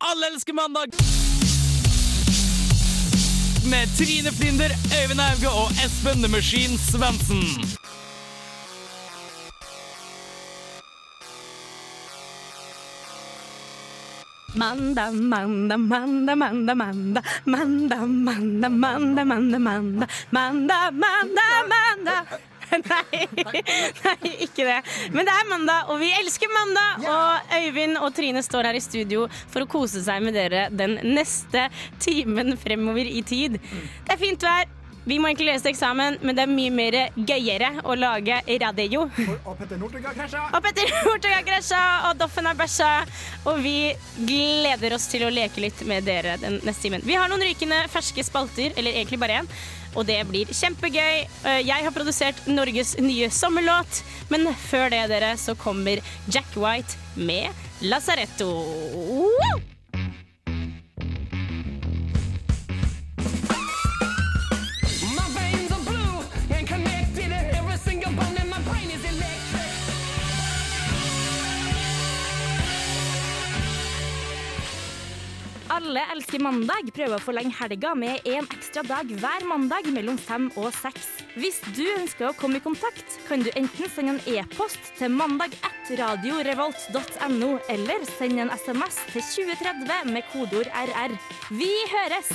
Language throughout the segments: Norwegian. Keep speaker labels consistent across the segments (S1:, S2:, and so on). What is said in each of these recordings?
S1: Alle elsker mandag! Med Trine Flinder, Øyvind Auge og Espen The Machine Svendsen.
S2: Mandag, mandag, mandag, mandag, mandag. Mandag, mandag, mandag, mandag, mandag. Mandag, mandag, mandag. Nei, nei, ikke det. Men det er mandag, og vi elsker mandag. Og Øyvind og Trine står her i studio for å kose seg med dere den neste timen fremover i tid. Det er fint vær. Vi må egentlig lese til eksamen, men det er mye mer gøyere å lage radio.
S3: Og Petter Northug har krasja!
S2: Og Petter Northug har krasja, og Doffen har bæsja. Og vi gleder oss til å leke litt med dere den neste timen. Vi har noen rykende ferske spalter, eller egentlig bare én. Og det blir kjempegøy. Eh, Jeg har produsert Norges nye sommerlåt. Men før det, dere, så kommer Jack White med Lazaretto. Woo!
S4: My veins are blue and connected, and every single bone in my brain is electric.
S5: Alle elsker mandag. Prøv å forlenge helga med en ekstra dag hver mandag mellom fem og seks. Hvis du ønsker å komme i kontakt, kan du enten sende en e-post til mandag1radiorevolt.no, eller sende en SMS til 2030 med kodeord RR. Vi høres!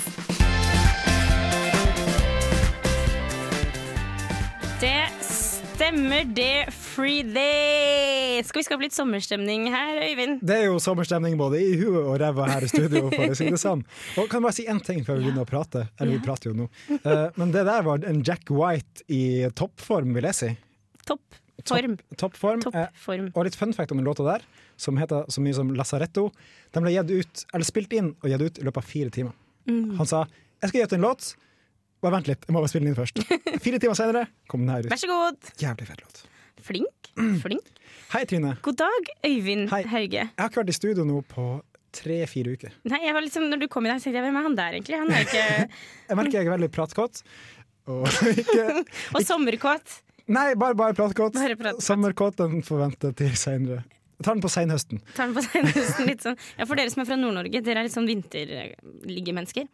S2: Det stemmer, det. Free day. Skal vi skape litt sommerstemning her, Øyvind?
S3: Det er jo sommerstemning både i huet og ræva her i studio. for å si det sånn. Og kan jeg bare si én ting før vi begynner å prate? Eller vi prater jo nå. Eh, Men det der var en Jack White i toppform, vil jeg si.
S2: Topp form.
S3: Toppform.
S2: Topp
S3: eh,
S2: form.
S3: Og litt fun fact om den låta der, som heter så mye som Lazaretto. Den ble gitt ut, eller spilt inn og gitt ut i løpet av fire timer. Han sa 'jeg skal gi ut en låt', bare vent litt, jeg må bare spille den inn først. Fire timer senere kom den her ut.
S2: Vær så god.
S3: Jævlig fet låt.
S2: Flink. Flink.
S3: Hei, Trine.
S2: God dag, Øyvind
S3: Mm. Hei.
S2: Hauge.
S3: Jeg har ikke vært i studio nå på tre-fire uker.
S2: Nei, jeg var liksom, når du kom i dag, tenkte jeg hvem er han der, egentlig? Han er ikke
S3: Jeg merker jeg er veldig pratkåt. Og ikke
S2: Og sommerkåt.
S3: Nei, bare, bare pratkåt.
S2: Bare pratkåt.
S3: Sommerkåt den får vente til seinere. Jeg tar den på seinhøsten.
S2: Tar den på seg nesten litt sånn. Ja, for dere som er fra Nord-Norge, dere er litt sånn vinterliggemennesker.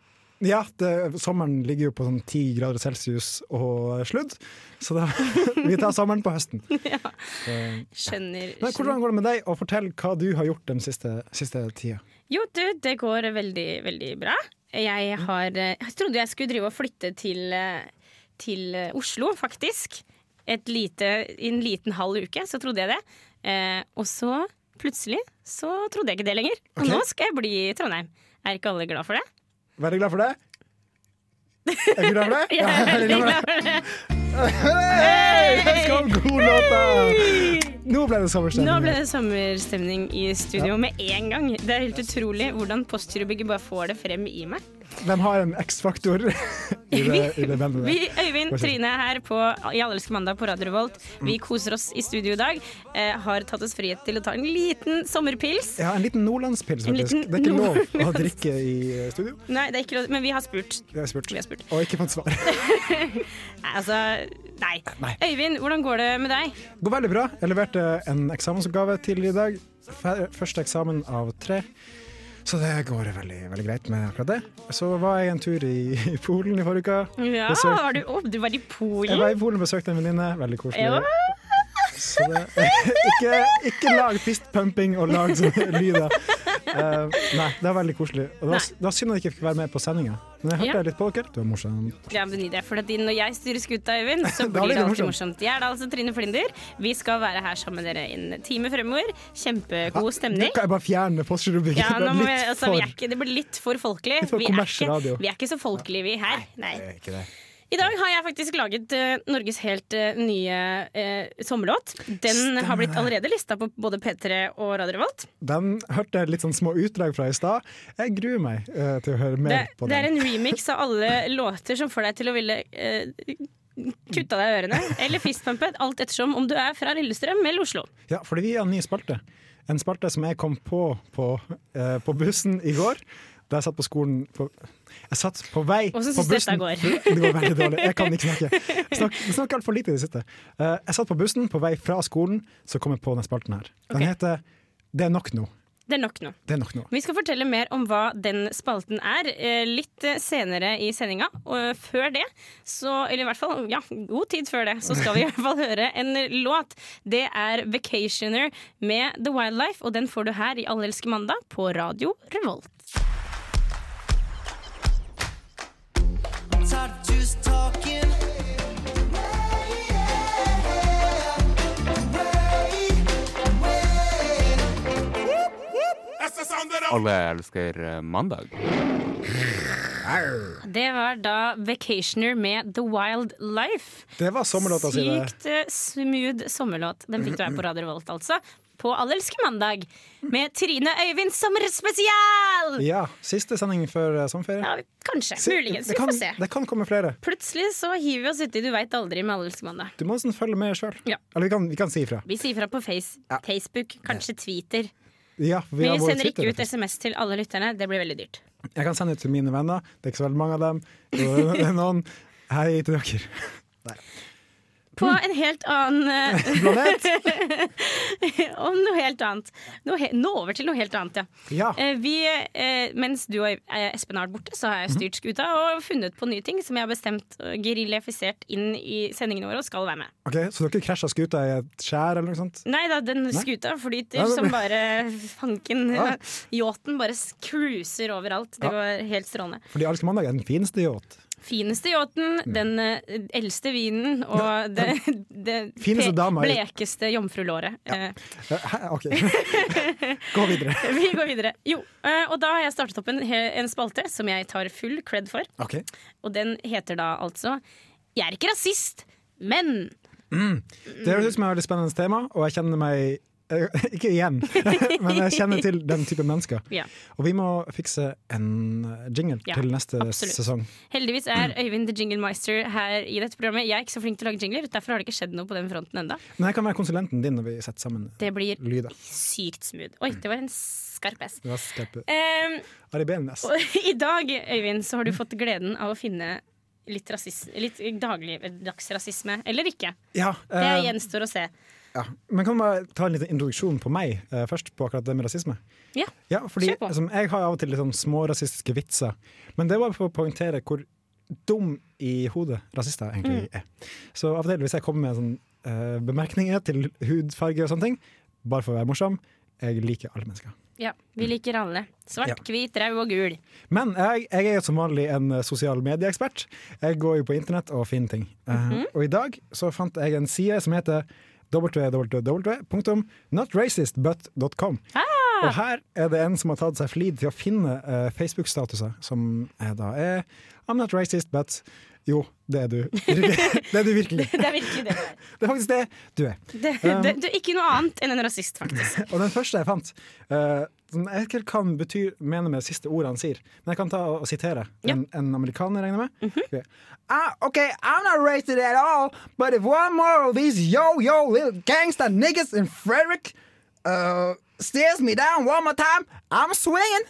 S3: Ja, det, sommeren ligger jo på sånn ti grader celsius og sludd, så da, vi tar sommeren på høsten.
S2: Skjønner.
S3: Men
S2: skjønner.
S3: Hvordan går det med deg, og fortell hva du har gjort den siste, siste tida.
S2: Jo, du, det går veldig, veldig bra. Jeg har eh, Jeg trodde jeg skulle drive og flytte til, eh, til eh, Oslo, faktisk. Et lite, I en liten halv uke, så trodde jeg det. Eh, og så plutselig så trodde jeg ikke det lenger. Og
S3: Ok.
S2: nå skal jeg bli i Trondheim. Er ikke alle glad for det?
S3: Veldig glad for det? Er du glad for det?
S2: Jeg er veldig
S3: veldig glad for det.
S2: glad for det.
S3: Hei! Jeg skal ha en god låt! da! Nå ble det
S2: Nå ble
S3: sommerstemning.
S2: det sommerstemning i studio med en gang. Det er helt utrolig hvordan Postgirobygget bare får det frem i meg.
S3: De har en X-faktor i det, i det bandet
S2: Vi,
S3: der.
S2: Øyvind, Trine her på I alle elsker mandag på Radio Revolt. Vi koser oss i studio i dag. Eh, har tatt oss frihet til å ta en liten sommerpils.
S3: Ja, en liten nordlandspils,
S2: En
S3: faktisk.
S2: liten
S3: Det er ikke lov å drikke i eh, studio.
S2: Nei, det er ikke lov, men vi har spurt.
S3: Vi har spurt.
S2: Vi har spurt.
S3: Og ikke fått svar.
S2: Nei, altså Nei.
S3: Nei.
S2: Øyvind, hvordan går det med deg?
S3: Det går veldig bra. Jeg leverte en eksamensoppgave tidligere i dag. Fe- Første eksamen av tre. Så det går veldig, veldig greit med akkurat det. Så var jeg en tur i, i Polen i forrige uke.
S2: Ja,
S3: Besøk-
S2: var du, å, du var i
S3: Jeg
S2: Polen?
S3: var i Polen og besøkte en venninne. Veldig
S2: Ja.
S3: koselig. Så det, ikke, ikke lag fistpumping og lag sånne lyder. Eh, nei, det var veldig koselig. Og det var, det var synd at jeg ikke fikk være med på sendinga. Men jeg hørte
S2: Ja.
S3: litt på dere. Du er morsom.
S2: Ja, men i det, for at når jeg styrer skuta, Øyvind, så
S3: Da
S2: blir
S3: blir
S2: det
S3: det
S2: alltid
S3: morsomt.
S2: morsomt. Jeg er da altså Trine Flinder. Vi skal være her sammen med dere en time fremover. Kjempegod
S3: Ah, Nå
S2: stemning.
S3: kan jeg bare fjerne postgirobygget.
S2: Ja, nå må vi, altså, vi er
S3: for
S2: ikke, det blir litt for folkelig.
S3: Litt for
S2: vi, er ikke,
S3: kommersradio.
S2: vi er ikke så folkelige, vi her. Nei.
S3: Det er ikke det.
S2: I dag har jeg faktisk laget eh, Norges helt eh, nye eh, sommerlåt. Den har blitt allerede lista på både P3 og Radio Revolt.
S3: Den hørte jeg litt sånn små utdrag fra i stad. Jeg gruer meg eh, til å høre
S2: Det,
S3: mer på
S2: det er
S3: den.
S2: en remix av alle låter som får deg til å ville eh, kutte av deg ørene. Eller fistpumpe, alt ettersom om du er fra Lillestrøm eller Oslo.
S3: Ja, fordi vi har en ny spalte. En spalte som jeg kom på på, eh, på bussen i går. Da jeg satt på skolen på, Jeg satt på vei
S2: Og så
S3: på
S2: synes du dette går.
S3: Det går veldig dårlig. Jeg kan ikke snakke. Jeg snak- Jeg snakker altfor lite i det siste. Eh, jeg satt på bussen på vei fra skolen, så kom jeg på den spalten her. Den
S2: Ok.
S3: heter 'Det er nok nå'.
S2: Det er nok nå.
S3: Det er nok nå.
S2: Vi skal fortelle mer om hva den spalten er eh, litt eh, senere i sendinga. Og eh, før det, så, eller i hvert fall ja, god tid før det, så skal vi i hvert fall høre en låt. Det er 'Vacationer' med The Wildlife, og den får du her i Allelske mandag på Radio Revolt.
S6: Alle elsker eh, mandag.
S2: Det var da 'Vacationer' med The Wild Life.
S3: Det var sommerlåta si. det.
S2: Sykt eh, smooth sommerlåt. Den fikk du her på Radio Revolt, altså. På Allelske mandag med Trine Øyvind sommerspesial!
S3: Ja, siste sending før eh, sommerferie.
S2: Ja, kanskje.
S3: Si-
S2: Muligens.
S3: Det
S2: Vi
S3: kan,
S2: får se.
S3: det kan komme flere.
S2: Plutselig så hiver vi oss uti Du veit aldri med Allelske mandag.
S3: Du må nesten følge med sjøl.
S2: Ja.
S3: Eller vi kan, vi kan si ifra.
S2: Vi sier fra på face, Facebook, kanskje Twitter.
S3: Ja, for vi
S2: Men
S3: har
S2: vi
S3: våre
S2: sender ikke
S3: Twitter- Mm.
S2: ut SMS til alle lytterne. Det blir veldig dyrt.
S3: Jeg kan sende ut til mine venner. Det er ikke så veldig mange av dem. Det er Noen. Hei til dere.
S2: På en helt annen eh,
S3: Planet.
S2: Om noe helt annet. Noe he nå over til noe helt annet, ja.
S3: Ja.
S2: Eh, Vi, eh, mens du og eh, Espen har vært borte, så har jeg
S3: Mm.
S2: styrt skuta og funnet på nye ting som jeg har bestemt eh, geriljafisert inn i sendingene våre og skal være med.
S3: Ok, Så dere krasja skuta i et skjær eller noe sånt?
S2: Nei da, den skuta flyter
S3: Ja, det-
S2: som bare fanken.
S3: Ja.
S2: Yachten bare cruiser overalt. Det
S3: Ja.
S2: var helt strålende.
S3: Fordi Alsk mandag er den fineste yacht.
S2: Fineste yachten,
S3: Mm.
S2: den eh, eldste vinen og det, det
S3: Fineste
S2: pe-
S3: dama i-
S2: blekeste jomfrulåret. Eh,
S3: Eh, Hæ? OK. Gå videre.
S2: Vi går videre. Jo, eh, og da har jeg startet opp en, he- en spalte som jeg tar full cred for.
S3: Ok,
S2: Og den heter da altså Jeg er ikke rasist, men
S3: Det høres ut som et veldig spennende tema, og jeg kjenner meg eh, Ikke igjen, men jeg kjenner til den type mennesker.
S2: Ja.
S3: Og vi må fikse en jingle
S2: Ja,
S3: til neste
S2: absolutt.
S3: sesong.
S2: Heldigvis er Øyvind the Jinglemeister her i dette programmet. Jeg er ikke så flink til å lage jingler, derfor har det ikke skjedd noe på den fronten enda
S3: Men jeg kan være konsulenten din når vi setter sammen
S2: Det blir
S3: lyder.
S2: sykt smooth. Oi, det var en skarp S.
S3: Det var skarpe-
S2: Eh,
S3: Ari Benes.
S2: og I dag, Øyvind, så har du fått gleden av å finne litt, rasis, litt dagligdagsrasisme. Eller ikke.
S3: Ja,
S2: Det
S3: eh,
S2: gjenstår å se.
S3: Ja. Men kan vi bare ta en liten introduksjon på meg eh, først, på akkurat det med rasisme?
S2: Ja,
S3: Ja, fordi
S2: kjør på.
S3: liksom, Jeg har av og til litt sånn små rasistiske vitser, men det var for å poengtere hvor dum i hodet rasister
S2: Mm.
S3: egentlig er. Så av og til hvis jeg kommer med sånn, eh, bemerkninger til hudfarge og sånne ting, bare for å være morsom, jeg liker alle mennesker.
S2: ja. Vi liker alle. Svart,
S3: Ja.
S2: hvit, rau og gul.
S3: Men jeg, jeg er jo som vanlig en eh, sosial medieekspert. Jeg går jo på internett og finner ting. Eh, Og i dag så fant jeg en side som heter www.notracistbut.com. Og her er det en som har tatt seg flid til å finne eh, Facebook-statuser som er da er I'm not racist, but Jo, det er du. det er du virkelig.
S2: Det er virkelig det det er.
S3: Det er faktisk det du er.
S2: Det, det, det er ikke noe annet enn en rasist, faktisk.
S3: Og den første jeg fant eh, som Jeg vet ikke hva han betyr, mener med de siste ordene han sier, men jeg kan ta og, og sitere. En, en amerikaner, regner jeg med.
S2: Mhm.
S3: Ok. ah, OK, I'm not racist at all, but if one more of these yo-yo little gangsta niggas in Frederick uh, stares me down one more time, I'm swinging!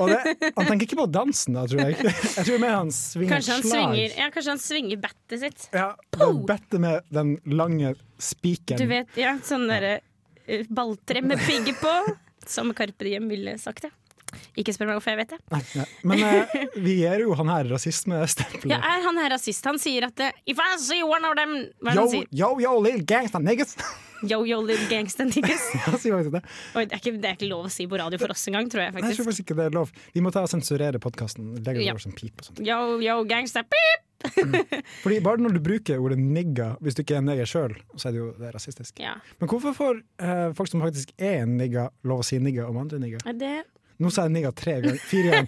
S3: og det, han tenker ikke på dansen, da, tror jeg. Jeg tror mer han svinger
S2: Kanskje han
S3: slag.
S2: svinger, ja, kanskje han svinger battet sitt.
S3: Ja, den bette med den lange spikeren.
S2: Du vet, ja, sånn derre eh, balltre med pigger på. Som Carpe Diem ville sagt det. Ikke spør meg hvorfor jeg vet det.
S3: Nei, nei. Men eh, vi gir jo han her rasismestempelet.
S2: Ja, er han her rasist? Han sier at eh, If I see one of them Hva er det
S3: Yo,
S2: han sier?
S3: yo, yo, little gangsta niggas.
S2: Yo, yo, little gangster niggas.
S3: Han sier faktisk det.
S2: Oi, det er, ikke, det er ikke lov å si på radio for oss engang, tror jeg
S3: Nei, jeg
S2: faktisk.
S3: tror faktisk ikke det er lov. Vi må ta og sensurere podkasten.
S2: Ja.
S3: Fordi
S2: Yo, yo, gangster, pip!
S3: bare når du bruker ordet nigga hvis du ikke er en neger sjøl, så er det jo det er rasistisk.
S2: Ja,
S3: Men hvorfor får eh, folk som faktisk er en nigga, lov å si nigga om andre nigga?
S2: er det
S3: Nå sa jeg nigga tre ganger. Fire ganger.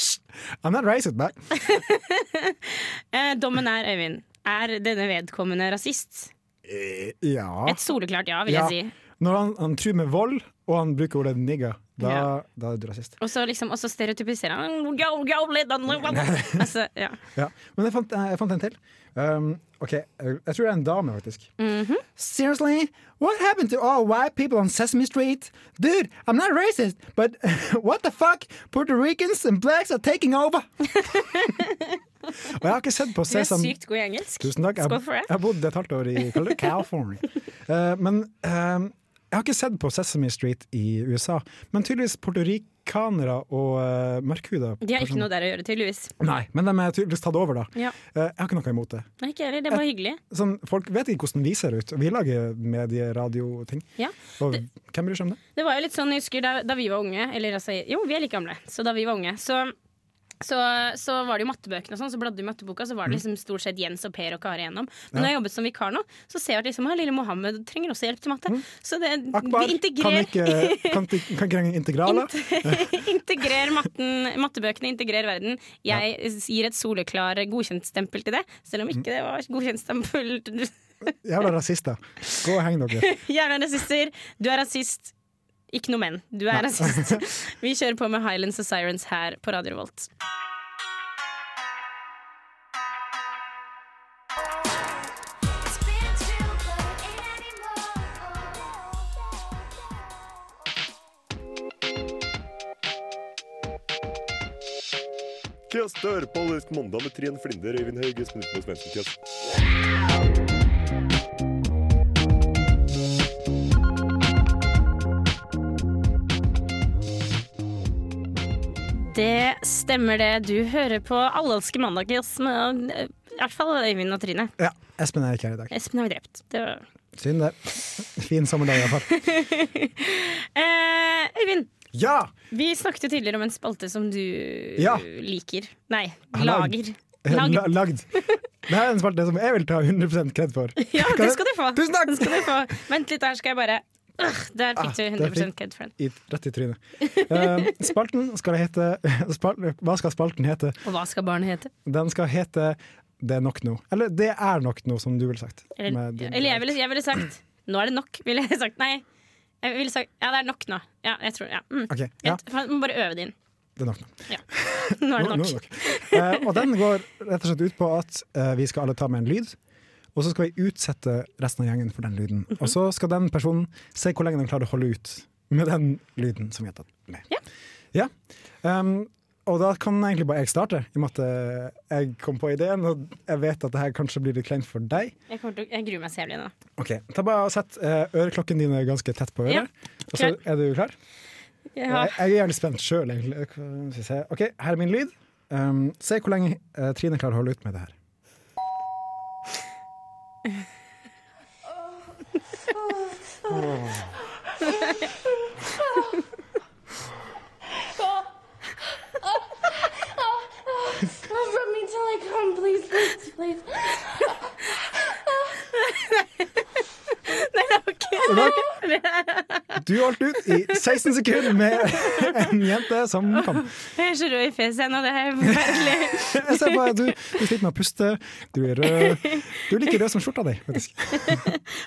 S3: Shit. I'm not racist, but
S2: eh, Dommen er, Øyvind, er denne vedkommende rasist?
S3: Ja.
S2: Et soleklart ja, vil
S3: eh, Ah. Ja.
S2: jeg si.
S3: Når han, han truer med vold, og han bruker ordet nigga, Da,
S2: Ja.
S3: da er du rasist.
S2: Og så liksom, og så stereotypiserer han yo, yo, little woman. altså, ja.
S3: Ja. Men jeg fant, eh, jeg fant en til. Um, OK, jeg jeg tror det er en dame, faktisk.
S2: Mhm.
S3: Seriously? What happened to all white people on Sesame Street? Dude, I'm not racist, but what the fuck? Puerto Ricans and blacks are taking over! Og jeg har ikke sett på
S2: Du er
S3: Sesam...
S2: sykt god i engelsk.
S3: Tusen takk. Jeg,
S2: Skål for det.
S3: jeg har bodd et halvt år i Cal- California. Eh, men eh, jeg har ikke sett på Sesame Street i USA. Men tydeligvis portorikanere og uh, mørkhuda
S2: De har ikke noe der å gjøre, tydeligvis.
S3: Nei, men de er tydeligvis tatt over, da.
S2: Ja.
S3: Eh, jeg har ikke noe imot det.
S2: Nei, ikke heller. Det var hyggelig.
S3: Sånn, folk vet ikke hvordan vi ser ut. Vi lager medie, radio og ting.
S2: Ja.
S3: Og hvem bryr seg om det?
S2: Det var jo litt sånn, jeg husker da, da vi var unge Eller altså, jo, vi er like gamle Så da vi var unge Så, så, så var det jo mattebøkene og sånn Så bladde vi i matteboka Så var
S3: Mm.
S2: det liksom stort sett Jens og Per og Kari igjennom Men når jeg har jobbet som vikar nå Så ser jeg at liksom «Å, Lille Mohammed trenger også hjelp til matte Så det,
S3: Mm. Akbar
S2: vi
S3: kan
S2: integrerer
S3: ikke, kan, ikke- kan ikke integraler.
S2: Integrer matten, mattebøkene, integrer verden. Jeg gir et soleklar godkjentstempel til det, selv
S3: Mm.
S2: om ikke det var godkjentstempel.
S3: Jævla rasister. Gå og heng dere.
S2: Jævla rasister. Du er rasist. Ikke noe men. Du er rasist. Vi kjører på med Highlands og Sirens her på Radio Revolt.
S7: Kast hører på Allersk mandag med Trine Flinder, Øyvind Hauge, Smittmo Svendsen Kast.
S2: Det stemmer det. Du hører på Allelske mandager. som er- I hvert fall Øyvind og Trine.
S3: Ja, Espen er ikke her i dag.
S2: Espen har vi drept. Det var...
S3: Synd det. Fin sommerdag i hvert fall.
S2: eh, Øyvind,
S3: Ja!
S2: vi snakket jo tidligere om en spalte som du
S3: Ja. Eh,
S2: liker. Nei,
S3: Har lagd.
S2: lager.
S3: Lagd.
S2: Lagd.
S3: Lagd. Det her er en spalte som jeg vil ta 100 kred for.
S2: Ja,
S3: Kan
S2: det
S3: jeg-
S2: skal du få.
S3: Tusen takk!
S2: Den skal du få. Vent litt, der skal jeg bare Øh, Der fikk du
S3: Ah, der
S2: 100
S3: fikk-
S2: kred for den.
S3: I, rett i trynet. Eh, spalten skal hete spalten, Hva skal spalten hete?
S2: Og hva skal barnet hete?
S3: Den skal hete Det er nok nå. Eller Det er nok nå, som du ville sagt.
S2: Eller,
S3: Med din-
S2: eller jeg, ville, jeg ville sagt Nå er det nok, ville jeg sagt. Nei. Jeg ville sagt Ja, det er nok nå. Ja, jeg tror Ja. Mm.
S3: Ok, ja,
S2: Vent, faen, må bare øve det inn.
S3: det er nok nå.
S2: Nå er det
S3: Nå- nå
S2: nok.
S3: er det nok. Eh, og den går rett og slett ut på at eh, vi skal alle ta med en lyd, og så skal vi utsette resten av gjengen for den lyden.
S2: Mhm.
S3: Og så skal den personen se hvor lenge den klarer å holde ut med den lyden som vi har tatt med.
S2: Ja.
S3: Ja. Um, og da kan egentlig bare jeg starte, i og med at eh, jeg kom på ideen, og jeg vet at det her kanskje blir litt kleint for deg.
S2: Jeg, kommer til, å- jeg gruer meg så jævlig nå.
S3: Ok, ta bare og Sett eh, øreklokken dine ganske tett på øret, og så er du klar?
S2: Ja.
S3: Jeg, jeg er jævlig spent sjøl, egentlig. Skal vi se. OK, her er min lyd. Um, se hvor lenge eh, Trine klarer å holde ut med det her.
S8: Come from me till I come, please, please, please.
S3: Du holdt ut i 16 sekunder med en jente som kom.
S2: Jeg er så rød i fjeset nå. Det er forferdelig.
S3: Jeg ser bare, du, du sliter med å puste, du er rød. Du er like rød som skjorta di, faktisk.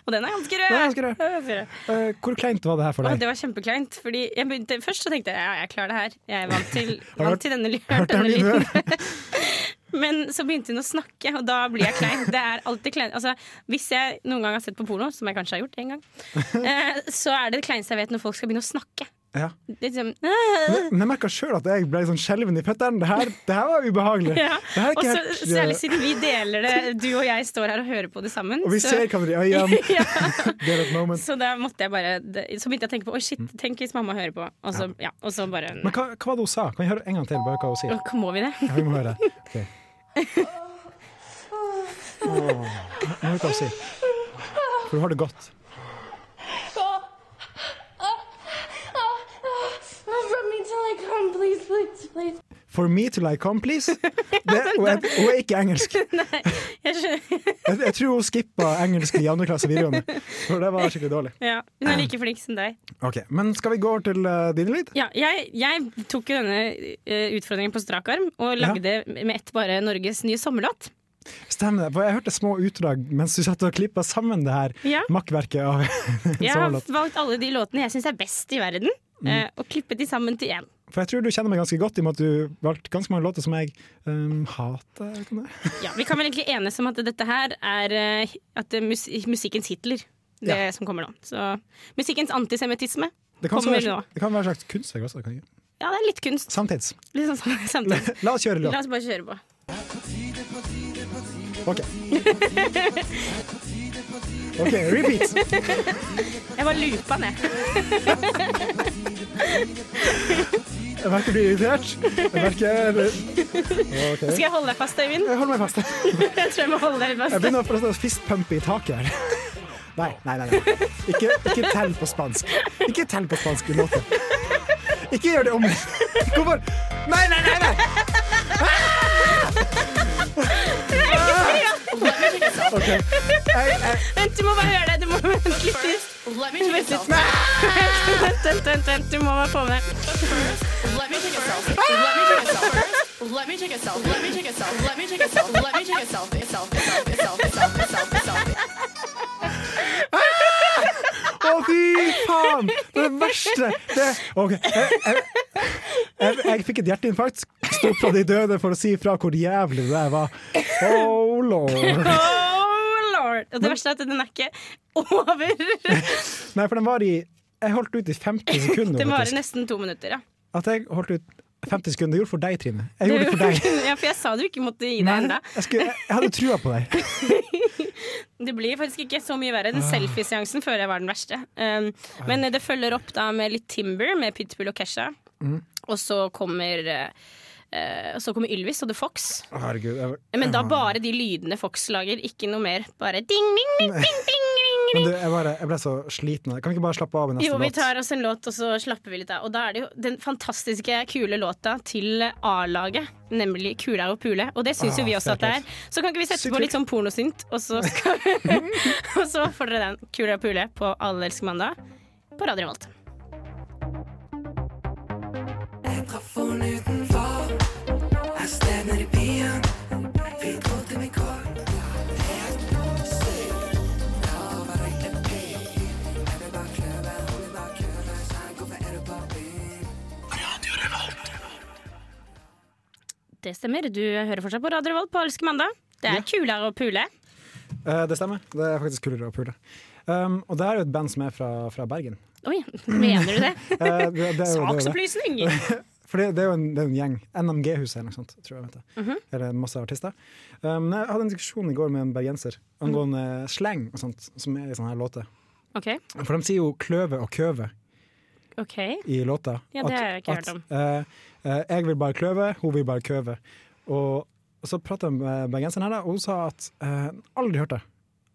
S2: Og den er ganske
S3: Den er
S2: rød.
S3: ganske rød.
S2: rød.
S3: Eh, hvor kleint var det her for
S2: Å,
S3: deg?
S2: det var kjempekleint. Fordi jeg begynte, først så tenkte jeg ja, jeg klarer det her. Jeg er vant til,
S3: du hørt-
S2: vant til denne, ly-
S3: Hørte
S2: denne
S3: jeg
S2: lyden.
S3: lyden?
S2: Men så begynte hun å snakke, og da blir jeg klein. Det er alltid klein. Altså, hvis jeg noen gang har sett på porno, som jeg kanskje har gjort en gang, eh, så er det det kleineste jeg vet når folk skal begynne å snakke.
S3: Ja.
S2: Det er liksom, «Åh!»
S3: Men jeg merka sjøl at jeg ble sånn skjelven i føttene. Det her, det her var ubehagelig.
S2: ja.
S3: Det her er
S2: Og så
S3: ikke helt- eh,
S2: særlig siden vi deler det, du og jeg står her og hører på det sammen.
S3: Og vi
S2: så-
S3: ser hverandre i øynene.
S2: ja.
S3: Det er et moment.
S2: Så da måtte jeg bare det- Så begynte jeg å tenke på Oi shit, tenk hvis mamma hører på. Og så, ja, og så bare
S3: Mm. Men hva, hva var det hun sa? Kan vi høre en gang til bare hva hun sier?
S2: «Åh, Må vi det?
S3: Ja, vi må høre. Ok. Åh, Nå vet jeg hva hun sier. For du har det godt.
S8: Come from me till I come, please, please, please.
S3: For me to like come, please. Det, hun, er, hun er ikke engelsk.
S2: Jeg skjønner.
S3: Jeg, jeg tror hun skippa engelsk i andre klasse videregående. For det var skikkelig dårlig.
S2: Ja, hun er like flink som deg.
S3: Ok, Men skal vi gå over til eh, din lyd?
S2: Ja, jeg, jeg tok jo denne eh, utfordringen på strak arm og
S3: Ja.
S2: lagde med ett bare Norges nye sommerlåt.
S3: Stemmer det. For jeg hørte små utdrag mens du satt og klippa sammen det her
S2: Ja.
S3: makkverket av en
S2: Jeg har
S3: sommerlåt.
S2: valgt alle de låtene jeg syns er best i verden. eh, og klippe de sammen til én.
S3: For jeg tror du kjenner meg ganske godt i og med at du valgte ganske mange låter som jeg um, hater. vet du om det?
S2: Ja, vi kan vel egentlig enes om at dette her er eh, at det er mus musikkens Hitler. Det som kommer nå. Så musikkens antisemittisme
S3: Det kan, også
S2: kommer nå.
S3: være, det kan være et slags kunstverk også. Kan jeg.
S2: Ja, det er litt kunst.
S3: Samtids.
S2: Litt sånn sam- samtidig.
S3: La oss kjøre
S2: La
S3: låt.
S2: oss bare kjøre på.
S3: OK. OK, repeat.
S2: Jeg bare loopa ned.
S3: Jeg merker jeg blir irritert. Jeg merker OK.
S2: Skal jeg holde deg fast, Øyvind?
S3: Jeg holder meg fast.
S2: Jeg tror jeg må holde deg
S3: Jeg
S2: fast.
S3: begynner forresten å fistpumpe i taket her. Nei, nei, nei. nei. Ikke, ikke tell på spansk. Ikke tell på spansk i låta. Ikke gjør det om igjen. Hvorfor? Nei, nei, nei! nei. Ah! Ok. Jeg, jeg,
S2: Vent, du må bare gjøre det. Du må vente litt. Vent litt. Vent, vent, vent, vent. Du må bare få med deg.
S9: Let me take a selfie. Let me take a selfie. Let me take a selfie. Let me take a selfie. Let me take a selfie. Let me take a selfie. Selfie. Selfie. Selfie. Selfie. Selfie. Selfie.
S3: å, fy faen! Det er det verste! Det, ok, jeg, jeg, jeg, jeg fikk et hjerteinfarkt. Sto opp fra de døde for å si ifra hvor jævlig det der var. Oh lord.
S2: Oh lord. Og det verste er at den er ikke over.
S3: Nei, for den var i Jeg holdt ut i 50 sekunder.
S2: Den varer
S3: faktisk.
S2: nesten to minutter, ja.
S3: At jeg holdt ut 50 sekunder, gjorde for deg, Trine. Jeg gjorde det for deg.
S2: Ja, for jeg sa du ikke måtte gi deg ennå.
S3: jeg, skulle, jeg, jeg hadde trua på deg.
S2: Det blir faktisk ikke så mye verre. Den selfieseansen føler jeg var den verste. Um, men det følger opp da med litt Timber, med Pitbull og Kesha. Og så kommer eh, eh, så kommer Ylvis og The Fox.
S3: Herregud, jeg,
S2: Men da bare de lydene Fox lager, ikke noe mer. Bare ding, ding, ding, ding, ding, ding,
S3: Men
S2: ding.
S3: du, jeg, bare, jeg ble så sliten. av det. Kan vi ikke bare slappe av i neste
S2: Jo, vi
S3: låt?
S2: tar oss en låt, og så slapper vi litt av. Og da er det jo den fantastiske, kule låta til A-laget, nemlig 'Kula og pule'. Og det syns jo
S3: Ah,
S2: vi også at det er.
S3: fett.
S2: Så kan ikke vi sette
S3: Sykt
S2: på litt
S3: kult.
S2: sånn pornosynt, og så, skal og så får dere den 'Kula og pule' på Alle elsker mandag på Radio Revolt. Det stemmer. Du hører fortsatt på Radio Revolt på Alle elsker mandag. Det er 'Kula og pule'.
S3: Eh, det stemmer. Det er faktisk kulere å pule. Um, og det her er jo et band som er fra, fra Bergen.
S2: Oi, mener du det?
S3: Eh, det, det, er jo- det, er jo det.
S2: Saksopplysning!
S3: For det, det er jo en, det er jo en gjeng. NMG-huset eller noe sånt. Tror jeg, vet det.
S2: Mhm.
S3: Eller masse artister. Um, men jeg hadde en diskusjon i går med en bergenser
S2: Mhm.
S3: angående slang og sånt, som er i sånne her låter.
S2: OK.
S3: For de sier jo kløve og køve
S2: ok
S3: i låta.
S2: Ja, det har jeg ikke hørt om.
S3: At, eh, eh, jeg vil bare kløve, hun vil bare køve. Og så prata jeg med bergenseren her, da, og hun sa at eh, aldri hørt det.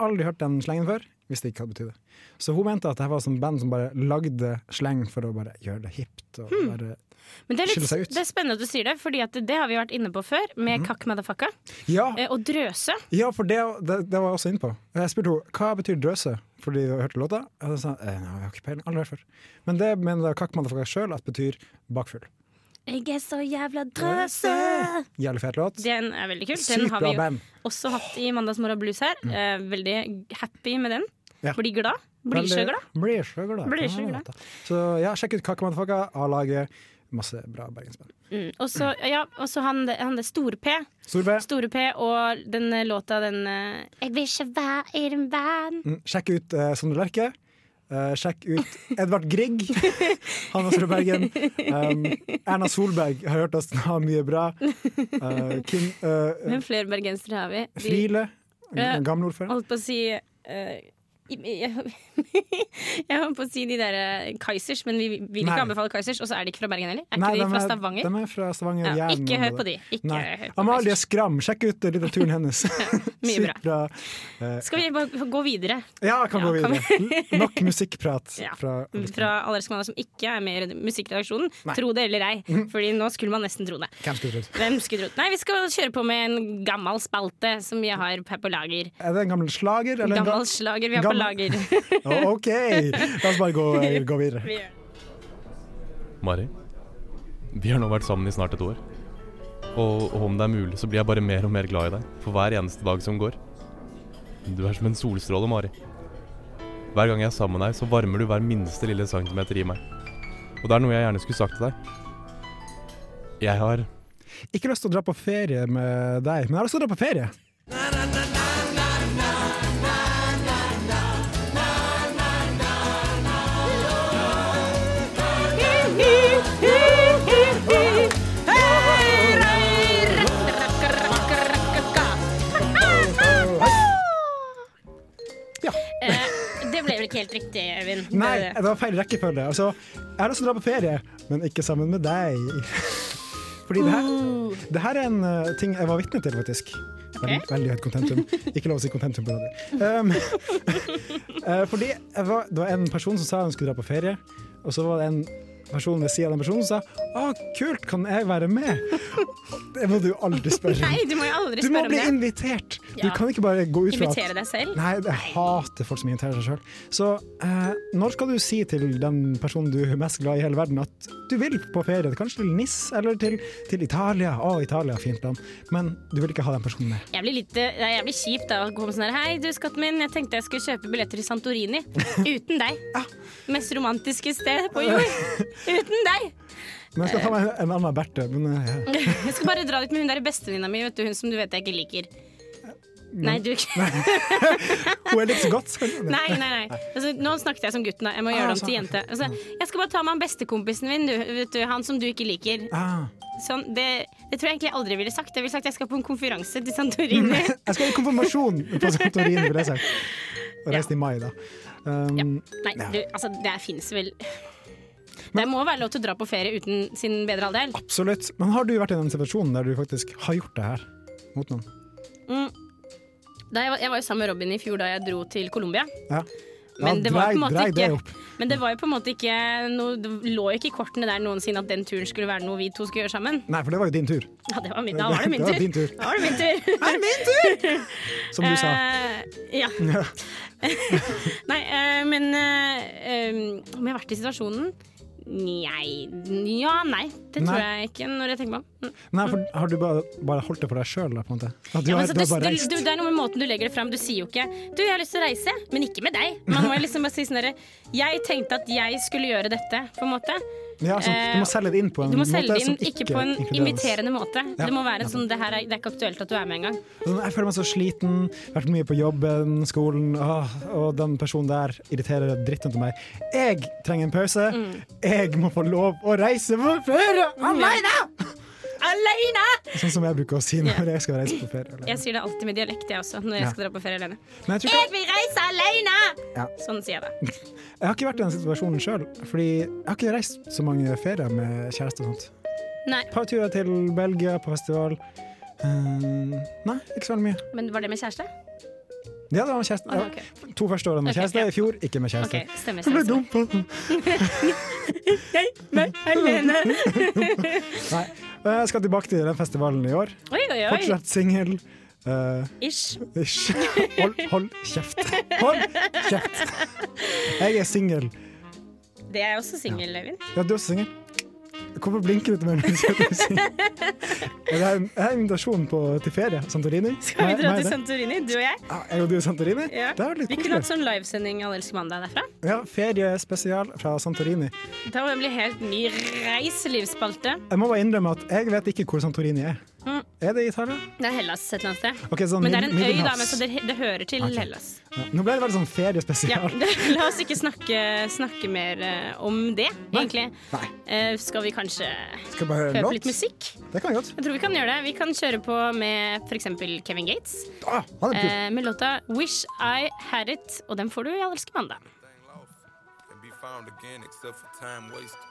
S3: Aldri hørt den slengen før, visste ikke hva det betydde. Så hun mente at det her var sånn band som bare lagde sleng for å bare gjøre det hipt. Og
S2: Hmm.
S3: bare,
S2: Men det er,
S3: Skille seg
S2: litt,
S3: ut. Mhm.
S2: det er spennende at du sier det, Fordi at det har vi vært inne på før, med kakk motherfucka
S3: ja,
S2: eh, og drøse.
S3: ja, for det, det, det var jeg også inne på. Jeg spurte henne hva betyr drøse, fordi hun hørte låta. Og så sa hun eh, nei, jeg har ikke peiling, aldri hørt før. Men det mener Kakkmannfolka sjøl at betyr bakfull.
S2: Jeg er så jævla drøse!
S3: Jævlig fet låt.
S2: Den er veldig kul. Den
S3: Sykt
S2: har
S3: bra
S2: vi jo
S3: band.
S2: også hatt i Mandagsmorgen Blues her. Eh, veldig happy med den.
S3: Mm. Ja.
S2: Blir glad. Blir så glad.
S3: Blir så glad.
S2: Blir
S3: Ja,
S2: så glad.
S3: da. Så ja, sjekk ut Kakemannfolka, A-laget. Masse bra bergensband.
S2: Mm. Og så ja, og så han, han der Store-P.
S3: Solveig,
S2: Store-P og den eh, låta den eh, Jeg vil ikke være i din verden.
S3: mm, sjekk ut eh, Sondre Lerche. Eh, sjekk ut Edvard Grieg. Han er fra Bergen. Um, Erna Solberg har hørt oss ha mye bra. Eh, Kim eh,
S2: Hvem flere bergensere har vi? De,
S3: Friele,
S2: Eh,
S3: gamle ordfører.
S2: holdt på å si eh, i- jeg, jeg holdt på å si de der eh, Kaizers, men vi vil ikke
S3: Nei.
S2: anbefale Kaizers. Og så er de ikke fra Bergen heller. Er
S3: Nei,
S2: ikke de
S3: dem
S2: fra
S3: er-
S2: Stavanger?
S3: dem er fra Stavanger.
S2: Ja,
S3: Jæren
S2: ikke hør
S3: og
S2: på de.
S3: det.
S2: Ikke
S3: Nei.
S2: hør på
S3: Amalie Skram, sjekk ut eh, litteraturen hennes.
S2: mye
S3: Sykt bra. Eh,
S2: Skal vi bare gå videre
S3: Ja, kan
S2: Ja,
S3: gå
S2: kan
S3: videre. Nok musikkprat
S2: Ja. Mm.
S3: fra
S2: fra alle elsker mandag som ikke er med i musikkredaksjonen? Tro det eller ei, Fordi nå skulle man nesten tro det.
S3: Hvem skulle trodd?
S2: Hvem skulle trodd? Nei, vi skal kjøre på med en gammel spalte som vi har her på lager.
S3: Er det en gammel slager? Eller en
S2: Gammel
S3: ga-
S2: slager vi har på
S3: gammel-
S2: lager.
S3: Å, OK! La oss bare gå, gå videre.
S10: Mari, vi har nå vært sammen i snart et år. Og, og om det er mulig, så blir jeg bare mer og mer glad i deg for hver eneste dag som går. Du er som en solstråle, Mari. Hver gang jeg er sammen med deg, så varmer du hver minste lille centimeter i meg.
S11: Og det er noe jeg gjerne skulle sagt til deg. Jeg har
S3: Ikke lyst til å dra på ferie med deg, men jeg har lyst til å dra på ferie.
S2: Eh, det ble vel ikke helt riktig, Øyvind.
S3: Nei, det var feil rekkefølge. Altså, jeg har lyst til å dra på ferie, men ikke sammen med deg. Fordi det her, det her er en eh, ting jeg var vitne til, faktisk. Veldig, veldig høyt kontentum. Ikke lov å si kontentum på radio. Um, eh, fordi jeg var, det var en person som sa hun skulle dra på ferie, og så var det en person ved siden av den personen som sa Å, kult, kan jeg være med? Det må du aldri spørre om.
S2: Nei, du må jo aldri
S3: Du må
S2: spørre om
S3: bli
S2: det.
S3: invitert. Du
S2: Ja.
S3: kan ikke bare gå ut fra at
S2: Invitere deg selv?
S3: Nei, jeg hater folk som inviterer seg sjøl. Så eh, når skal du si til den personen du er mest glad i i hele verden at du vil på ferie? Kanskje til NIS eller til, til Italia? Å, Italia, fint land. Men du vil ikke ha den personen med.
S2: Jeg blir, litt, nei, jeg blir kjip da å komme sånn her Hei, du skatten min, jeg tenkte jeg skulle kjøpe billetter til Santorini Uten deg Mest romantiske sted på jord Uten deg
S3: Men jeg skal ta meg en, en annen Berthe. Men, eh,
S2: Jeg skal bare dra litt med hun der bestevenninna mi vet du, Hun som du vet jeg ikke liker Nei, du
S3: hun er litt så godt. skal du-
S2: Nei, nei, nei. Altså, nå snakket jeg som gutten, da. Jeg må gjøre
S3: Ah,
S2: det om til
S3: sånn,
S2: jente. Altså, jeg skal bare ta med han bestekompisen min, du, vet du, han som du ikke liker.
S3: Ah.
S2: Sånn, det, det tror jeg egentlig jeg aldri ville sagt. Jeg ville sagt jeg skal på en konferanse til Santorini.
S3: Jeg skal i konfirmasjon på Santorini, vil jeg si. Og reiste i mai, da. Um,
S2: Nei,
S3: ja.
S2: du, altså, det fins vel Det må være lov til å dra på ferie uten sin bedre halvdel.
S3: Absolutt. Men har du vært i den situasjonen der du faktisk har gjort det her mot noen?
S2: Mm. Da jeg, var, jeg var jo sammen med Robin i fjor da jeg dro til Colombia.
S3: Ja.
S2: Men det var på en måte
S3: dreg det
S2: ikke-
S3: opp.
S2: Men det var jo på en måte ikke noe, det lå jo ikke i kortene der noensinne at den turen skulle være noe vi to skulle gjøre sammen.
S3: Nei, for det var jo din tur.
S2: Ja, det var min, da var det min
S3: Det var din
S2: tur.
S3: tur.
S2: Da var det min tur. Eh,
S3: Er det min tur? Som du sa.
S2: ja. Nei, eh, men eh, eh, om jeg har vært i situasjonen? Nei Ja, nei. Det tror
S3: Nei.
S2: jeg ikke når jeg tenker meg om. Mm.
S3: Nei, for har du bare, bare holdt det for deg sjøl, da, på en måte? At du
S2: Ja, men
S3: har,
S2: så Altså,
S3: du
S2: du,
S3: har bare
S2: du,
S3: reist?
S2: du, det er noe med måten du legger det fram. Du sier jo ikke 'du, jeg har lyst til å reise', men ikke med deg. Man må jo liksom bare si sånn derre 'jeg tenkte at jeg skulle gjøre dette', på en måte.
S3: Ja, sånn, du må
S2: Eh,
S3: selge det inn på en
S2: Du må
S3: måte
S2: selge det
S3: som
S2: inn, ikke på en
S3: inkluderer oss.
S2: inviterende måte.
S3: Ja,
S2: Det må være en
S3: nettopp.
S2: sånn det, her er, 'det er ikke aktuelt at du er med engang'.
S3: Sånn, Jeg føler meg så sliten, vært mye på jobben, skolen, åh, og den personen der irriterer dritten til meg. Jeg trenger en pause.
S2: Mm.
S3: Jeg må få lov å reise på ferie aleine!
S2: Aleine!
S3: Sånn som jeg bruker å si når jeg skal reise på ferie. eller-
S2: Jeg sier det alltid med dialekt, jeg også, når jeg
S3: Ja.
S2: skal dra på ferie alene.
S3: Men jeg tror ikke-
S2: Jeg vil reise alene!
S3: Ja.
S2: Sånn sier jeg det.
S3: Jeg har ikke vært i den situasjonen sjøl, fordi jeg har ikke reist så mange ferier med kjæreste og sånt.
S2: Nei,
S3: Et par turer til Belgia på festival. Eh, nei, ikke så veldig mye.
S2: Men var det med kjæreste?
S3: Ja, det var med kjæreste.
S2: Ah, ok.
S3: Ja, To første årene med
S2: Ok,
S3: kjæreste,
S2: ja.
S3: i fjor ikke med kjæreste.
S2: Ok, stemmer,
S3: Jeg ble
S2: stemmer,
S3: dumpa.
S2: Jeg meg alene!
S3: Nei. Eh, Jeg skal tilbake til den festivalen i år.
S2: Oi, oi, oi.
S3: Fortsatt singel. Eh,
S2: Ish.
S3: ish. Hold, hold kjeft. Hold kjeft. Jeg er singel.
S2: Det er jeg også singel, Øyvind.
S3: Ja, du er også singel. Hvorfor blinker du til meg? når du sier at du er singel? Er det her en, er det en invitasjon på, til ferie? Santorini?
S2: Skal vi
S3: Meg-
S2: dra til
S3: meg og deg?
S2: Santorini, du og jeg?
S3: Ja, Jeg og du i Santorini?
S2: Ja.
S3: Det er jo litt
S2: Vi kunne hatt
S3: koselig.
S2: sånn livesending Alle elsker mandag derfra.
S3: Ja, feriespesial fra Santorini.
S2: Da må det bli helt ny reiselivsspalte.
S3: Jeg må bare innrømme at jeg vet ikke hvor Santorini er.
S2: Mm.
S3: Er det i Italia?
S2: Det er Hellas et eller annet sted.
S3: Ok, sånn
S2: Men det er en øy, da,
S3: Middelhavs.
S2: men så det, det hører til
S3: Ok.
S2: Hellas.
S3: Ja. Nå ble det veldig sånn
S2: Ja,
S3: feriespesial.
S2: la oss ikke snakke, snakke mer eh, om det, egentlig. Eh, skal vi kanskje
S3: Skal vi bare høre en
S2: høre på
S3: låt?
S2: litt musikk?
S3: Det kan vi godt.
S2: Jeg tror vi kan gjøre det. Vi kan kjøre på med f.eks. Kevin Gates.
S3: Ah, han er kul.
S2: eh, med låta 'Wish I Had It', og den får du i Allelske mandag.
S12: and be found again except for time wasted.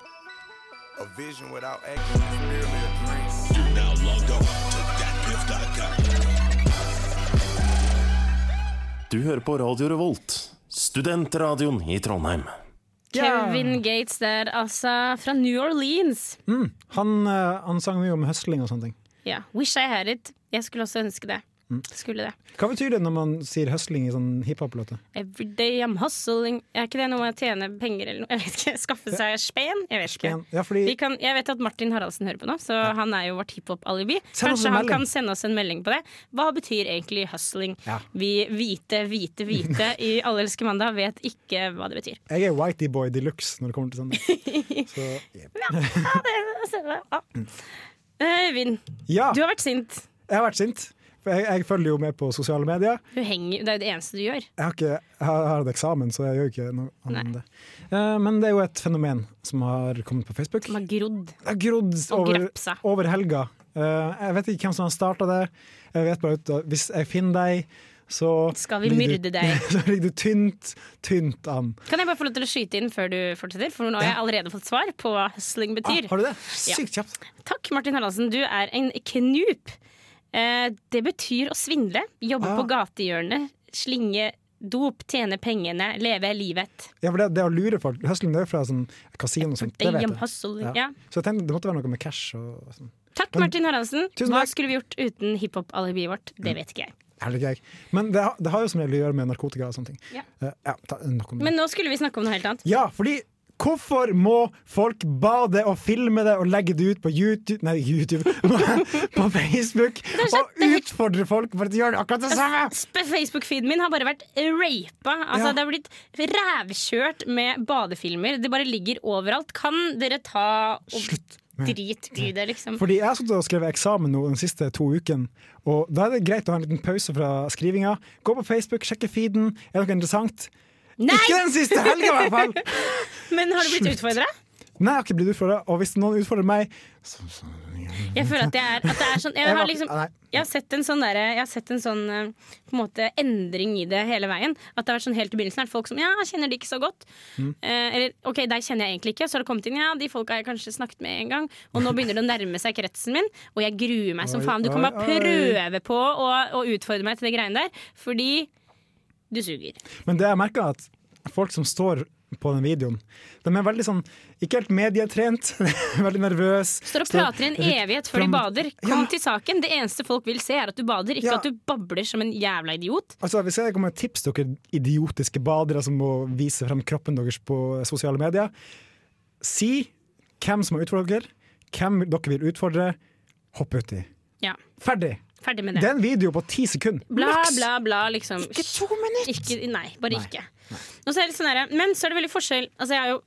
S12: A vision without action is merely a dream. You now logged on to
S7: Du hører på Radio Revolt, studentradioen i Trondheim.
S2: Kevin Gates der, altså. Fra New Orleans.
S3: Mm. Han, eh, han sang mye om høsling og sånne ting.
S2: Ja. 'Wish I Had It'. Jeg skulle også ønske det.
S3: Mm.
S2: Skulle det.
S3: Hva betyr det når man sier høsling i sånn hiphop-låter?
S2: Every day I'm hustling. Er ikke det noe å tjene penger eller noe? Jeg vet ikke, Skaffe seg spen? Jeg vet ikke.
S3: Ja, fordi
S2: Vi kan, jeg vet at Martin Haraldsen hører på nå, så han er jo vårt hiphop-alibi.
S3: Send oss
S2: Kanskje han
S3: en melding.
S2: kan sende oss en melding på det. Hva betyr egentlig hustling?
S3: Ja.
S2: Vi hvite, hvite, hvite i Alle elsker mandag vet ikke hva det betyr.
S3: jeg er whitey boy de luxe når det kommer til sånn. Så,
S2: Ja, ja, det, så, ja.
S3: Mm.
S2: Eh, Øyvind,
S3: ja,
S2: du har vært sint.
S3: jeg har vært sint. For jeg, jeg følger jo med på sosiale medier.
S2: Du henger, det er jo det eneste du gjør.
S3: Jeg har, ikke, jeg har hatt eksamen, så jeg gjør ikke noe annet enn det. Eh, Men det er jo et fenomen som har kommet på Facebook.
S2: Som har grodd.
S3: Det har grodd
S2: Og
S3: over,
S2: grapp seg.
S3: over helga. Eh, Jeg vet ikke hvem som har starta det. Jeg vet bare ut at hvis jeg finner deg, så
S2: Skal vi
S3: ligger du-
S2: myrde deg?
S3: Så ligger du tynt, tynt an.
S2: Kan jeg bare få lov til å skyte inn før du fortsetter? For nå har jeg allerede fått svar på hva hustling betyr.
S3: Ah, har du det? Sykt kjapt.
S2: Takk, Martin Haraldsen. Du er en knup. Eh, det betyr å svindle, jobbe
S3: Ah.
S2: på gatehjørnet, slinge dop, tjene pengene, leve livet.
S3: Ja, for det, det å lure folk Høsling det er jo fra sånn kasino og sånt. Det vet
S2: Damn
S3: jeg.
S2: hustling. Ja.
S3: Ja. Så jeg tenkte det måtte være noe med cash og og sånn.
S2: Takk,
S3: Men-
S2: Martin Haraldsen.
S3: Tusen
S2: Hva
S3: takk. Mm.
S2: skulle vi gjort uten hiphop-alibiet vårt? Det vet ikke jeg.
S3: Heller ikke jeg. Men det, har- det har jo som regel å gjøre med narkotika og sånne ting.
S2: Ja.
S3: Eh, ja, ta, nok om det.
S2: Men nå skulle vi snakke om noe helt annet.
S3: Ja, fordi hvorfor må folk ba det og filme det og legge det ut på YouTube Nei, YouTube På Facebook og utfordre folk for at de gjør det akkurat det samme!
S2: Sp- Facebook-feeden min har bare vært rapa. Altså,
S3: Ja.
S2: Det har blitt rævkjørt med badefilmer. Det bare ligger overalt. Kan dere ta og
S3: med-
S2: drit i det, liksom?
S3: Fordi jeg har sittet og skrevet eksamen nå de siste to ukene, og da er det greit å ha en liten pause fra skrivinga. Gå på Facebook, sjekke feeden. Er det noe interessant? Ikke den siste helga, i hvert fall!
S2: Men har du blitt
S3: Slutt.
S2: utfordra?
S3: Nei, jeg har ikke blitt utfordra, og hvis noen utfordrer meg
S2: Jeg føler at det er, at det er sånn jeg
S3: Jeg
S2: har,
S3: var-
S2: liksom,
S3: nei.
S2: jeg har sett en sånn, derre- jeg har sett en sånn eh, på en måte endring i det hele veien. At det har vært sånn helt i begynnelsen er det folk som Ja, jeg kjenner de ikke så godt.
S3: Mm.
S2: Eh, eller OK, deg kjenner jeg egentlig ikke. Så har det kommet inn Ja, de folka har jeg kanskje snakket med en gang. Og nå begynner det å nærme seg kretsen min, og jeg gruer meg som
S3: Oi,
S2: faen. Du kan
S3: oi,
S2: bare
S3: oi.
S2: prøve på å, å utfordre meg til de greiene der, fordi du suger.
S3: Men det jeg merker er at folk som står på den videoen, de er veldig sånn Ikke helt medietrent, veldig nervøs.
S2: Står og prater i en evighet før de bader. Kom til saken. Det eneste folk vil se, er at du bader, ikke
S3: Ja.
S2: at du babler som en jævla idiot.
S3: Altså, Hvis jeg kommer med tips til dere idiotiske badere som må vise frem kroppen deres på sosiale medier, si hvem som har utfordret dere, hvem dere vil utfordre, hopp uti.
S2: Ja,
S3: Ferdig!
S2: ferdig med
S3: Det er en video på ti sekunder.
S2: Bla,
S3: Maks.
S2: bla, bla, liksom. Ikke to minutter! nei, bare
S3: Nei.
S2: ikke. Og så er det litt sånn der, men så er det veldig forskjell Altså, jeg har jo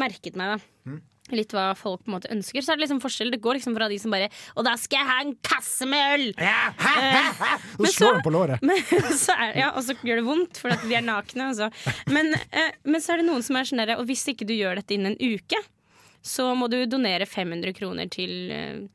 S2: merket meg, da.
S3: Mm.
S2: Litt hva folk på en måte ønsker. Så er det liksom forskjell. Det går liksom fra de som bare Og da skal jeg ha en kasse med øl! Eh,
S3: Og
S2: men
S3: slår den på låret.
S2: men så er, ja, og så gjør det vondt, for at de er nakne. og så. Men, eh, men så er det noen som er sånn derre Og hvis ikke du gjør dette innen en uke, så må du donere 500 kroner til eh,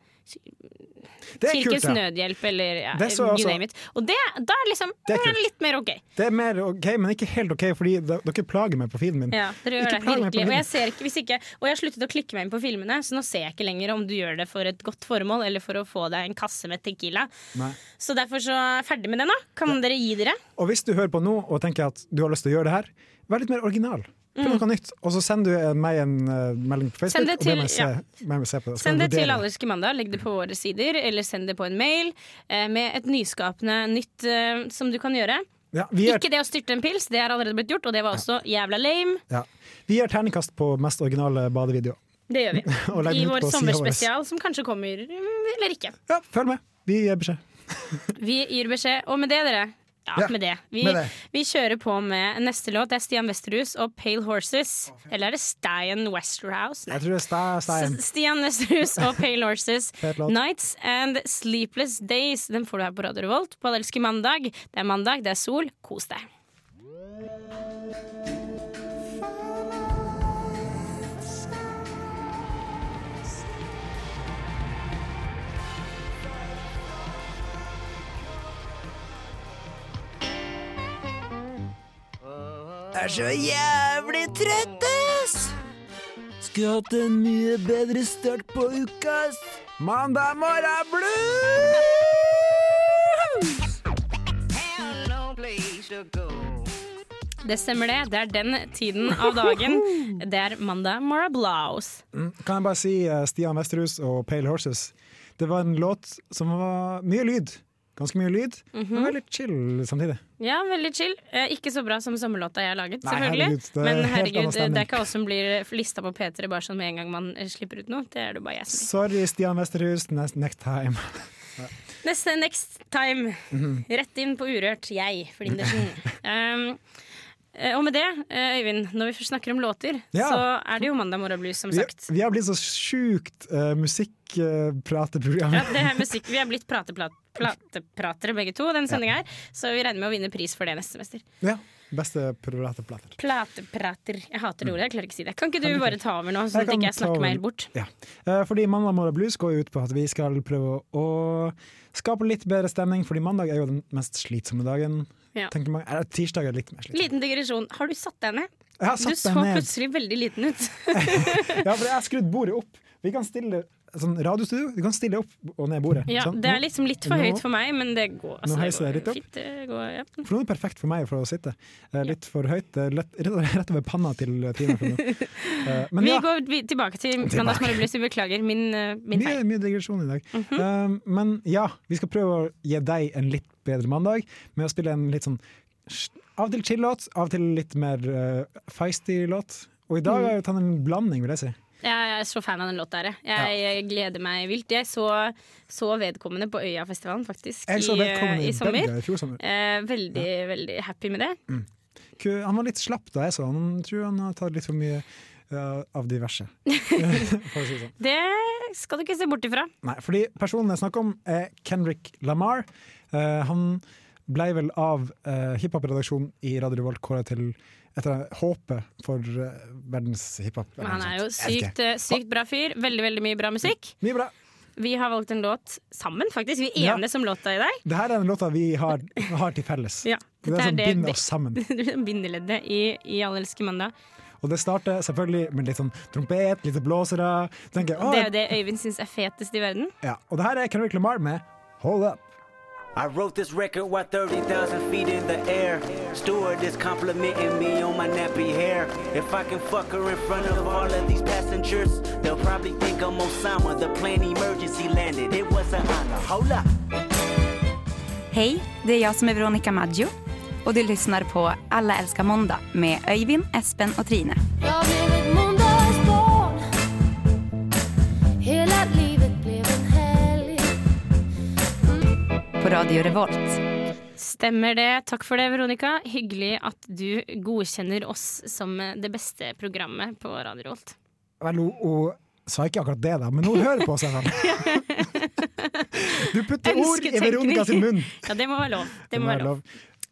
S3: Det er
S2: Kirkens
S3: kult, ja.
S2: Nødhjelp eller ja,
S3: Det så jeg
S2: you
S3: også.
S2: name it. Og det, da er det liksom
S3: Det er kult.
S2: mm, litt mer ok.
S3: Det er mer OK, men ikke helt OK, fordi de- dere plager meg på feeden min.
S2: Ja, dere gjør
S3: Ikke
S2: det
S3: plag meg på
S2: virkelig. Og
S3: filmen.
S2: jeg, ser ikke, hvis ikke, og jeg har sluttet å klikke meg inn på filmene, så nå ser jeg ikke lenger om du gjør det for et godt formål eller for å få deg en kasse med Tequila.
S3: Nei.
S2: Så derfor så er jeg ferdig med det nå. Kan dere gi dere?
S3: Og hvis du hører på nå og tenker at du har lyst til å gjøre det her, vær litt mer original. Prøv
S2: Mm.
S3: noe nytt, og så send du eh, meg en eh, melding på Facebook.
S2: Send det
S3: og be
S2: til-
S3: meg se,
S2: ja.
S3: be meg se på det. Så
S2: Send
S3: kan
S2: det
S3: vi
S2: til
S3: vurdere
S2: Allerske mandag, legg det på våre sider, eller send det på en mail eh, med et nyskapende nytt eh, som du kan gjøre.
S3: Ja, vi er-
S2: Ikke det å styrte en pils, det har allerede blitt gjort, og det var også jævla lame.
S3: Ja. Vi gir terningkast på mest originale badevideo.
S2: Det gjør vi.
S3: Og legg
S2: I
S3: den ut
S2: vår
S3: på siden
S2: sommerspesial, som kanskje kommer, mm, eller ikke.
S3: Ja, følg med. Vi gir beskjed.
S2: Vi gir beskjed. Og med det, dere. Ja,
S3: Ja,
S2: med det. Vi,
S3: med det.
S2: vi kjører på med neste låt. Det er Stian Westerhus og Pale Horses. Eller er det Stian Westerhouse?
S3: Jeg tror det er Ste- Stein.
S2: Stian Westerhus og Pale Horses.
S3: Fet låt.
S2: Nights and Sleepless Days. Den får du her på Radio Revolt på Adelske mandag. Det er mandag, det er sol. Kos deg.
S13: Er så jævlig trøtt, ass!
S14: Skulle hatt en mye bedre start på uka, ass. Mandag morgen blues!
S2: Det stemmer det. Det er den tiden av dagen. Det er mandag morgen blouse.
S3: Mm. Kan jeg bare si eh, Stian Westerhus og Pale Horses. Det var en låt som var mye lyd. Ganske mye lyd,
S2: Mhm.
S3: men veldig chill samtidig.
S2: Ja, veldig chill. Eh, ikke så bra som sommerlåta jeg har laget,
S3: Nei,
S2: selvfølgelig.
S3: herregud, det er
S2: Men
S3: helt annen
S2: herregud,
S3: stemning.
S2: det er ikke oss som blir lista på P3 bare sånn med en gang man eh, slipper ut noe. Det er det bare jeg som blir.
S3: Sorry, Stian Westerhus, next, next time.
S2: Neste Next Time.
S3: Mhm.
S2: Rett inn på Urørt, jeg, Flindersen. Um, eh, og med det, eh, Øyvind, når vi først snakker om låter,
S3: Ja.
S2: så er det jo Mandag morgen blues, som
S3: Vi,
S2: sagt.
S3: vi har blitt så sjukt uh, musikkprateprogram.
S2: Ja, det er musikk. Vi er blitt pratepla- platepratere begge to, den sendinga her, så vi regner med å vinne pris for det neste semester.
S3: Ja, beste prateplater.
S2: Plateprater. Jeg hater det ordet, jeg klarer ikke å si det. Kan ikke du
S3: Kan du
S2: bare ta over nå, sånn
S3: Jeg
S2: at
S3: kan
S2: ikke jeg
S3: ta
S2: snakker
S3: over.
S2: meg helt bort?
S3: Ja. Eh, Fordi Mandag morgen blues går jo ut på at vi skal prøve å skape litt bedre stemning, fordi mandag er jo den mest slitsomme dagen.
S2: Ja.
S3: Tenker mange. Eller tirsdag er litt mer slitsom.
S2: Liten digresjon. Har du satt deg ned?
S3: Jeg har satt
S2: du så
S3: meg ned.
S2: plutselig veldig liten ut.
S3: Ja, for jeg har skrudd bordet opp. Vi kan stille sånn radiostudio, du kan stille opp og ned bordet.
S2: Ja,
S3: sånn.
S2: det er
S3: Nå-
S2: liksom litt for
S3: nå-
S2: høyt for meg, men det går.
S3: Nå
S2: det
S3: heiser jeg
S2: går
S3: litt opp.
S2: Fint, det går, ja.
S3: For nå er det perfekt for meg for å sitte. Eh, Litt for høyt. Det er lett- rett, rett over panna til Trine. for nå. Eh, Men
S2: vi
S3: ja,
S2: går vi, tilbake til
S3: Tilbake.
S2: Mandags Morgenblues. Vi beklager min, eh, min
S3: mye,
S2: feil. Mhm.
S3: mye digresjon i dag. Eh, Men ja, vi skal prøve å gi deg en litt bedre mandag med å spille en litt sånn sj- av og til chill-låt, av og til litt mer eh, feisty låt. Og i
S2: Mhm.
S3: dag har jeg tatt en blanding, vil jeg si.
S2: Jeg er så fan av den låta her. jeg. Jeg, jeg gleder meg vilt. Jeg så, så vedkommende på Øyafestivalen, faktisk,
S3: Jeg så
S2: i, eh,
S3: vedkommende i,
S2: i sommer.
S3: Belgia i fjor sommer.
S2: Eh, veldig, veldig happy med det.
S3: Mm. Ku- Han var litt slapp da jeg så han. Han tror han har tatt litt for mye eh, av diverse. for å si det sånn.
S2: Det skal du ikke se bort ifra.
S3: Nei, fordi personen jeg snakker om er Kendrick Lamar. Eh, han blei vel av uh, hiphop-redaksjonen i Radio Revolt kåra til etter håpet for eh, verdens hiphop.
S2: Men han er jo
S3: Jeg vet
S2: sykt, eh, sykt bra fyr. Veldig, veldig mye bra musikk.
S3: Mye bra.
S2: Vi har valgt en låt sammen, faktisk. Vi
S3: Ja.
S2: enes om låta i dag.
S3: ikke. Det her er den låta vi har, har til felles.
S2: Ja,
S3: det er
S2: dette
S3: det som
S2: er det-
S3: binder oss sammen.
S2: Bindeleddet i, i Alle elsker mandag.
S3: Og det starter selvfølgelig med litt sånn trompet, litt blåsere. Så tenker jeg, «Å,
S2: Det er jo det Øyvind syns er fetest i verden.
S3: Ja, og det her er Kendrick Lamar med Hold Up.
S15: I wrote this record while 30,000 feet in the air. Steward is complimenting me on my nappy hair. If I can fuck her in front of all of these passengers, they'll probably think I'm Osama. The plane emergency landed. It was an honor. Hold up.
S4: Hej, det är jag som är Veronica Maggio och du lyssnar på Alla älskar måndag med Öyvind, Espen och Trine.
S8: Jag blev ett måndagsbarn Hela livet blev en helg
S4: På Radio Revolt.
S2: Stemmer det. Takk for det, Veronica. Hyggelig at du godkjenner oss som det beste programmet på Radio Rolt.
S3: Vel, hun, hun sa ikke akkurat det, da, men hun hører på seg. i hvert fall. Du putter ord i
S2: Ønsketenkning.
S3: Veronica sin munn.
S2: Ja, det må være lov. Det må være lov.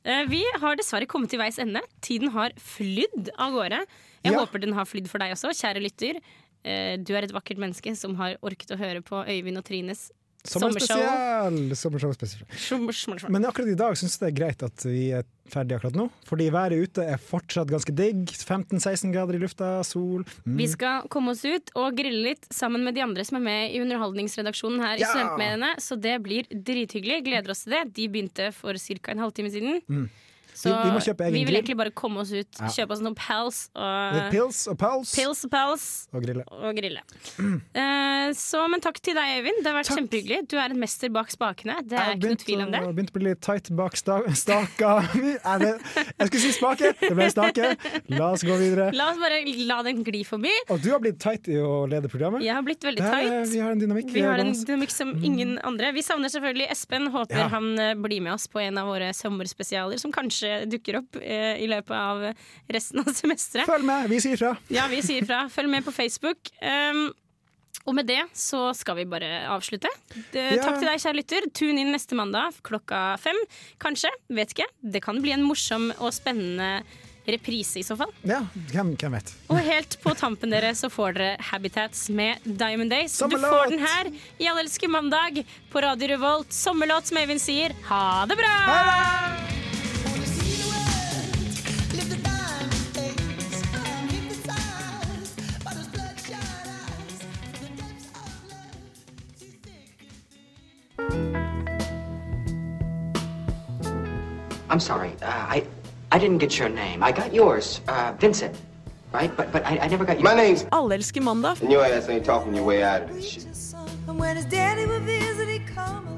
S2: Eh, Vi har dessverre kommet til veis ende. Tiden har flydd av gårde. Jeg
S3: Ja.
S2: håper den har flydd for deg også, kjære lytter. Eh, Du er et vakkert menneske som har orket å høre på Øyvind og Trines sommershow.
S3: Sommerspesial. Sommershow spesial.
S2: Sommershow.
S3: Men akkurat i dag syns jeg det er greit at vi er ferdige akkurat nå. Fordi været ute er fortsatt ganske digg. 15-16 grader i lufta, sol. Mm.
S2: Vi skal komme oss ut og grille litt sammen med de andre som er med i underholdningsredaksjonen her i
S3: Ja!
S2: Studentmediene, så det blir drithyggelig. Gleder oss til det. De begynte for ca. en halvtime siden.
S3: Mm.
S2: Så
S3: vi, vi må kjøpe egen
S2: vi vil
S3: grill.
S2: egentlig bare komme oss ut,
S3: Ja.
S2: kjøpe oss noen pals
S3: Det er
S2: og
S3: Pils og pals
S2: Pils og pals
S3: og grille.
S2: og grille.
S3: Mm.
S2: Eh, så, men takk til deg, Øyvind. Det har vært kjempehyggelig. Du er en mester bak spakene. Det er ikke noe tvil om det.
S3: Og begynte å bli litt tight bak sta staka. Er det, jeg skulle si spake, det ble stake. La oss gå videre.
S2: La oss bare la den gli forbi.
S3: Og du har blitt tight i å lede programmet.
S2: Jeg har blitt veldig
S3: Det her er-
S2: tight.
S3: eh, Vi har en dynamikk. eh,
S2: Vi har en
S3: Jonas.
S2: dynamikk som ingen andre. Vi savner selvfølgelig Espen. Håper
S3: Ja.
S2: han eh, blir med oss på en av våre sommerspesialer, som kanskje dukker opp eh, i løpet av resten av semesteret.
S3: Følg med, vi sier fra.
S2: Ja, vi sier fra. Følg med på Facebook. Um, og med det så skal vi bare avslutte. Det-
S16: Ja.
S2: Takk til deg, kjære lytter. Tune inn neste mandag klokka fem. Kanskje. Vet ikke. Det kan bli en morsom og spennende reprise i så fall.
S3: Ja, hvem, hvem vet.
S2: Og helt på tampen dere så får dere Habitats med Diamond Days. Du
S3: Sommerlåt!
S2: får den her i Alle elsker mandag på Radio Revolt. Sommerlåt som Øyvind sier. Ha det bra!
S17: I'm sorry. Uh, I I didn't get your name. I got yours, uh, Vincent, right? But but I, I never got your.
S18: My name's-
S17: Alle elsker mandag.
S18: And your ass ain't talking your way out of this shit.
S19: And when his daddy would visit, he'd come